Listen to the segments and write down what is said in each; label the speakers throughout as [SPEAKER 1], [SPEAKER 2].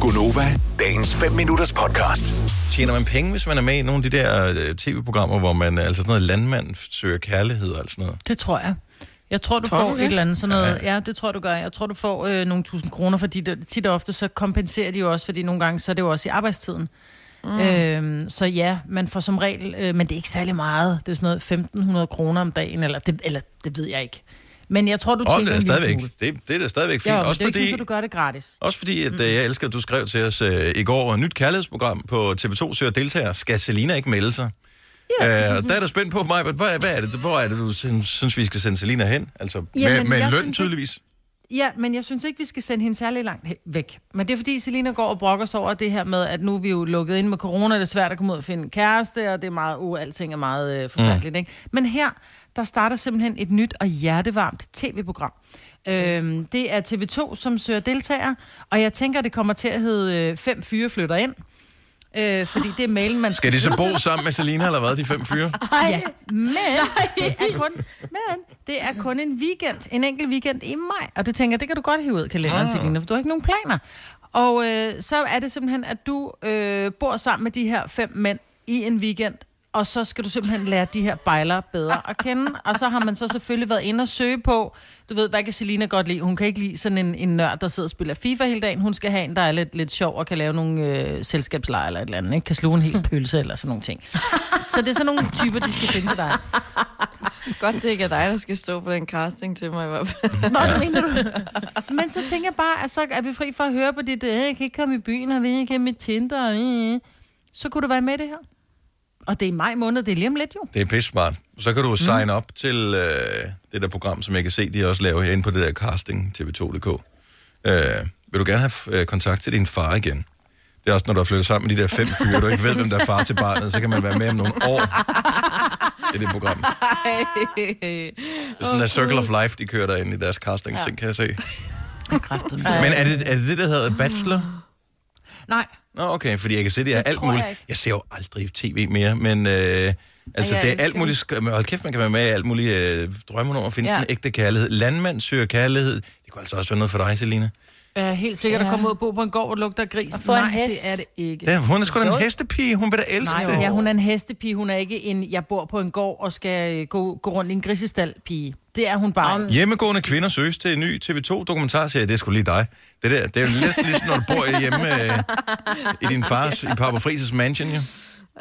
[SPEAKER 1] Gunova, dagens 5 minutters podcast.
[SPEAKER 2] Tjener man penge, hvis man er med i nogle af de der øh, tv-programmer, hvor man, øh, altså sådan noget landmand søger kærlighed og alt sådan noget?
[SPEAKER 3] Det tror jeg. Jeg tror, du
[SPEAKER 4] Tror
[SPEAKER 3] tror
[SPEAKER 4] du
[SPEAKER 3] får
[SPEAKER 4] det?
[SPEAKER 3] et eller andet sådan noget. Ja, det tror du gør. Jeg tror, du får øh, nogle tusind kroner, fordi det, tit og ofte så kompenserer de jo også, fordi nogle gange så er det jo også i arbejdstiden. Mm. Øhm, så ja, man får som regel, øh, men det er ikke særlig meget. Det er sådan noget 1500 kroner om dagen, eller det, eller det ved jeg ikke. Men jeg tror, du
[SPEAKER 2] Og
[SPEAKER 3] tjener
[SPEAKER 2] det er
[SPEAKER 3] en lille
[SPEAKER 2] stadigvæk,
[SPEAKER 3] smule.
[SPEAKER 2] det, det er da stadigvæk fint.
[SPEAKER 3] Ja,
[SPEAKER 2] også,
[SPEAKER 3] også det er fordi...
[SPEAKER 2] fordi,
[SPEAKER 3] ikke sådan, at du gør det gratis.
[SPEAKER 2] også fordi, at mm. jeg elsker, at du skrev til os øh, i går, et nyt kærlighedsprogram på TV2 søger deltager. Skal Selina ikke melde sig? Yeah. Øh, og der er der spændt på mig, hvad, hvad er det, hvor er det, du synes, synes, vi skal sende Selina hen? Altså, med,
[SPEAKER 3] Jamen,
[SPEAKER 2] med
[SPEAKER 3] jeg
[SPEAKER 2] løn
[SPEAKER 3] synes ikke-
[SPEAKER 2] tydeligvis.
[SPEAKER 3] Ja, men jeg synes ikke, vi skal sende hende særlig langt he- væk. Men det er fordi, Selina går og brokker sig over det her med, at nu er vi jo lukket ind med corona, det er svært at komme ud og finde en kæreste, og det er meget, uh, alting er meget øh, forfærdeligt, mm. ikke? Men her, der starter simpelthen et nyt og hjertevarmt tv-program. Øhm, det er TV2, som søger deltagere, og jeg tænker, det kommer til at hedde øh, Fem fyre flytter ind. Øh, fordi det er mailen, man
[SPEAKER 2] Skal de så bo sammen med Selina, eller hvad, de fem fyre?
[SPEAKER 3] Ja, men det, er kun, men det er kun en weekend, en enkelt weekend i maj. Og det tænker jeg, det kan du godt hive ud af kalenderen, ah. Selina, for du har ikke nogen planer. Og øh, så er det simpelthen, at du øh, bor sammen med de her fem mænd i en weekend, og så skal du simpelthen lære de her bejlere bedre at kende. Og så har man så selvfølgelig været inde og søge på, du ved, hvad kan Selina godt lide? Hun kan ikke lide sådan en, en nørd, der sidder og spiller FIFA hele dagen. Hun skal have en, der er lidt, lidt sjov og kan lave nogle øh, selskabsleje eller et eller andet. Ikke? Kan sluge en hel pølse eller sådan nogle ting. Så det er sådan nogle typer, de skal finde til dig.
[SPEAKER 4] Godt, det ikke er dig, der skal stå på den casting til mig. i hvert fald.
[SPEAKER 3] Nå, det mener du. Men så tænker jeg bare, at så er vi fri for at høre på dit, øh, jeg kan ikke komme i byen, og vi kan ikke med Tinder, øh, øh. så kunne du være med i det her. Og det er i maj måned, det er lige om lidt jo.
[SPEAKER 2] Det er pisse smart. Så kan du sign mm. op til øh, det der program, som jeg kan se, de også laver herinde på det der casting tv2.dk. Øh, vil du gerne have øh, kontakt til din far igen? Det er også, når du har flyttet sammen med de der fem fyre, du ikke ved, hvem der er far til barnet, så kan man være med om nogle år i det program. Det er sådan der Circle of Life, de kører derinde i deres casting-ting, kan jeg se.
[SPEAKER 3] Kræftet.
[SPEAKER 2] Men er det, er det det, der hedder Bachelor?
[SPEAKER 3] Nej,
[SPEAKER 2] Nå, okay, fordi jeg kan se, det er alt
[SPEAKER 4] tror
[SPEAKER 2] muligt.
[SPEAKER 4] jeg
[SPEAKER 2] Jeg,
[SPEAKER 4] ikke.
[SPEAKER 2] ser jo aldrig tv mere, men øh, altså,
[SPEAKER 4] jeg
[SPEAKER 2] det er
[SPEAKER 4] elsker
[SPEAKER 2] alt muligt. sk- Men hold kæft, man kan være med i alt muligt. Øh, drømmer om at finde ja.
[SPEAKER 4] Ja.
[SPEAKER 2] den ægte kærlighed. Landmand søger kærlighed. Det kunne altså også være noget for dig, Selina.
[SPEAKER 3] jeg er helt sikkert at komme ud og bo på en gård, og lugter af gris.
[SPEAKER 5] Og få en
[SPEAKER 3] Nej,
[SPEAKER 5] hest.
[SPEAKER 3] det er det ikke.
[SPEAKER 2] Ja, hun er sgu da
[SPEAKER 3] Jo.
[SPEAKER 2] en hestepige. Hun vil da elske
[SPEAKER 3] Nej,
[SPEAKER 2] det.
[SPEAKER 3] ja, hun er en hestepige. Hun er ikke en, jeg bor på en gård og skal øh, gå, gå rundt i en grisestal pige. Det er hun bare. Om,
[SPEAKER 2] Hjemmegående kvinder søges til en ny TV2-dokumentarserie. Det er sgu lige dig. Det der, det er jo næsten ligesom, når du bor hjemme øh, i din fars, i Papa Frises mansion, jo.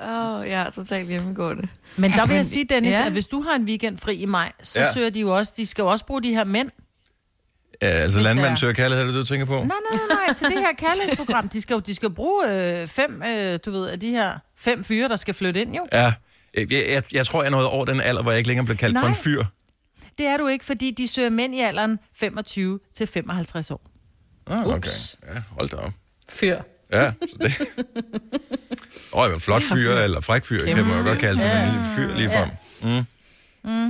[SPEAKER 4] Åh, oh, jeg er totalt hjemmegående.
[SPEAKER 3] Men der vil jeg sige, Dennis, ja.
[SPEAKER 4] ja.
[SPEAKER 3] at hvis du har en weekend fri i maj, så
[SPEAKER 2] Ja.
[SPEAKER 3] ja. søger de jo også, de skal jo også bruge de her mænd.
[SPEAKER 2] Ja, altså, landmand
[SPEAKER 3] er-
[SPEAKER 2] søger kærlighed, er det, du tænker på?
[SPEAKER 3] Nej, nej, nej, nej, til det her kærlighedsprogram, de skal jo de skal bruge øh, fem, øh, du ved, af de her fem fyre, der skal flytte ind jo.
[SPEAKER 2] Ja. Øh, Jeg, jeg, jeg tror, jeg nåede over den alder, hvor jeg ikke længere blev kaldt Nej. for en
[SPEAKER 3] Nej.
[SPEAKER 2] fyr.
[SPEAKER 3] Det er du ikke, fordi de søger mænd i alderen 25 til 55 år.
[SPEAKER 2] Ah, okay.
[SPEAKER 5] Ups.
[SPEAKER 2] Ja, hold da op.
[SPEAKER 5] Fyr.
[SPEAKER 2] Ja, så det... Åh, oh, flot fyr, eller fræk fyr, kan man jo godt kalde sig, men en lille fyr lige frem. Mm.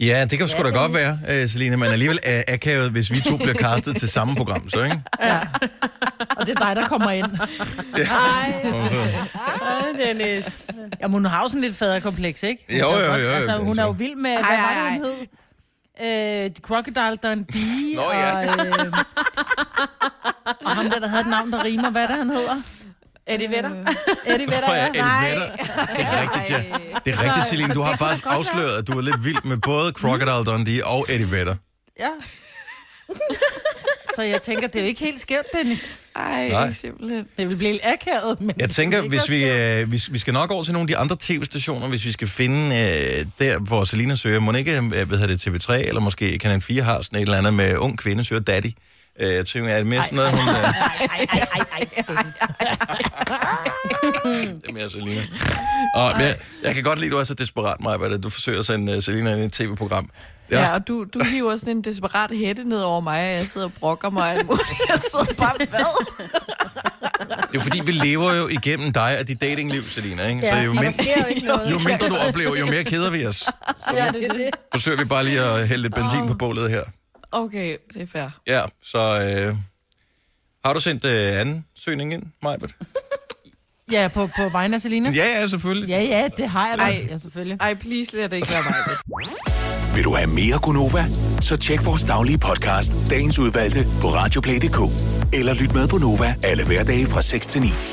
[SPEAKER 2] Ja, det kan sgu da godt være, øh, Selina, men alligevel er akavet, hvis vi to bliver castet til samme program, så ikke?
[SPEAKER 3] Ja. Og det er dig, der kommer ind.
[SPEAKER 2] Og så,
[SPEAKER 5] Ej, Dennis.
[SPEAKER 3] Jamen, hun har jo sådan lidt faderkompleks, ikke? Hun
[SPEAKER 2] Jo,
[SPEAKER 3] kan
[SPEAKER 2] jo,
[SPEAKER 3] godt-
[SPEAKER 2] jo, jo,
[SPEAKER 3] Altså, hun
[SPEAKER 2] altså.
[SPEAKER 3] er jo vild med, hvad
[SPEAKER 4] Ej,
[SPEAKER 3] var
[SPEAKER 4] ej,
[SPEAKER 3] det, hun hed? Øh, Crocodile Dundee,
[SPEAKER 2] Nå,
[SPEAKER 3] og,
[SPEAKER 2] ja.
[SPEAKER 3] øh, og ham der, der havde et navn, der rimer. Hvad er det, han hedder?
[SPEAKER 5] Er det venner?
[SPEAKER 3] Eddie
[SPEAKER 2] Nå
[SPEAKER 3] Vedder,
[SPEAKER 2] ja,
[SPEAKER 3] ja.
[SPEAKER 2] Elvetter. Det er rigtigt, ja. Det er rigtigt, Selina. Du har faktisk afsløret, at du er lidt vild med både Crocodile Dundee og Eddie Vedder.
[SPEAKER 3] ja. Så jeg tænker, det er jo ikke helt skævt, Dennis.
[SPEAKER 4] Ej,
[SPEAKER 2] Nej.
[SPEAKER 4] Nej. simpelthen.
[SPEAKER 3] Det vil blive lidt akavet, men...
[SPEAKER 2] Jeg tænker, hvis vi, øh, vi, vi skal nok over til nogle af de andre tv-stationer, hvis vi skal finde øh, der, hvor Selina søger. Må ikke, øh, hvad hedder det, TV3, eller måske Kanal 4 har sådan et eller andet med ung kvinde søger daddy. Øh, jeg tænker, er det mere sådan noget, hun... Øh, det er mere Selina. Og, men jeg, jeg kan godt lide, at du er så desperat, Maja, at du forsøger at sende øh, Selina ind i et tv-program. Det er
[SPEAKER 4] Ja,
[SPEAKER 2] også,
[SPEAKER 4] og du, du hiver sådan en desperat hætte ned over mig, og jeg sidder og brokker mig og alt muligt. Jeg sidder bare, hvad?
[SPEAKER 2] det er jo fordi, vi lever jo igennem dig og dit datingliv, Selina. Ikke?
[SPEAKER 5] Ja,
[SPEAKER 2] så jo,
[SPEAKER 5] og der
[SPEAKER 2] mind,
[SPEAKER 5] sker jo ikke noget.
[SPEAKER 2] jo mindre du oplever, jo mere keder vi os.
[SPEAKER 5] Ja, det er det.
[SPEAKER 2] Forsøger vi bare lige at hælde lidt benzin på bålet her.
[SPEAKER 4] Okay, det er fair.
[SPEAKER 2] Ja, så øh, har du sendt øh, anden søgning ind, Majbert?
[SPEAKER 3] Ja, på, på vegne af Selina?
[SPEAKER 2] Ja, ja, selvfølgelig.
[SPEAKER 3] Ja, ja, det har jeg da.
[SPEAKER 4] Ej.
[SPEAKER 3] Ja, selvfølgelig.
[SPEAKER 4] Ej, please, lad det ikke være mig.
[SPEAKER 1] Vil du have mere Gunova? Så tjek vores daglige podcast, dagens udvalgte, på radioplay.dk. Eller lyt med på Nova alle hverdage fra 6 til 9.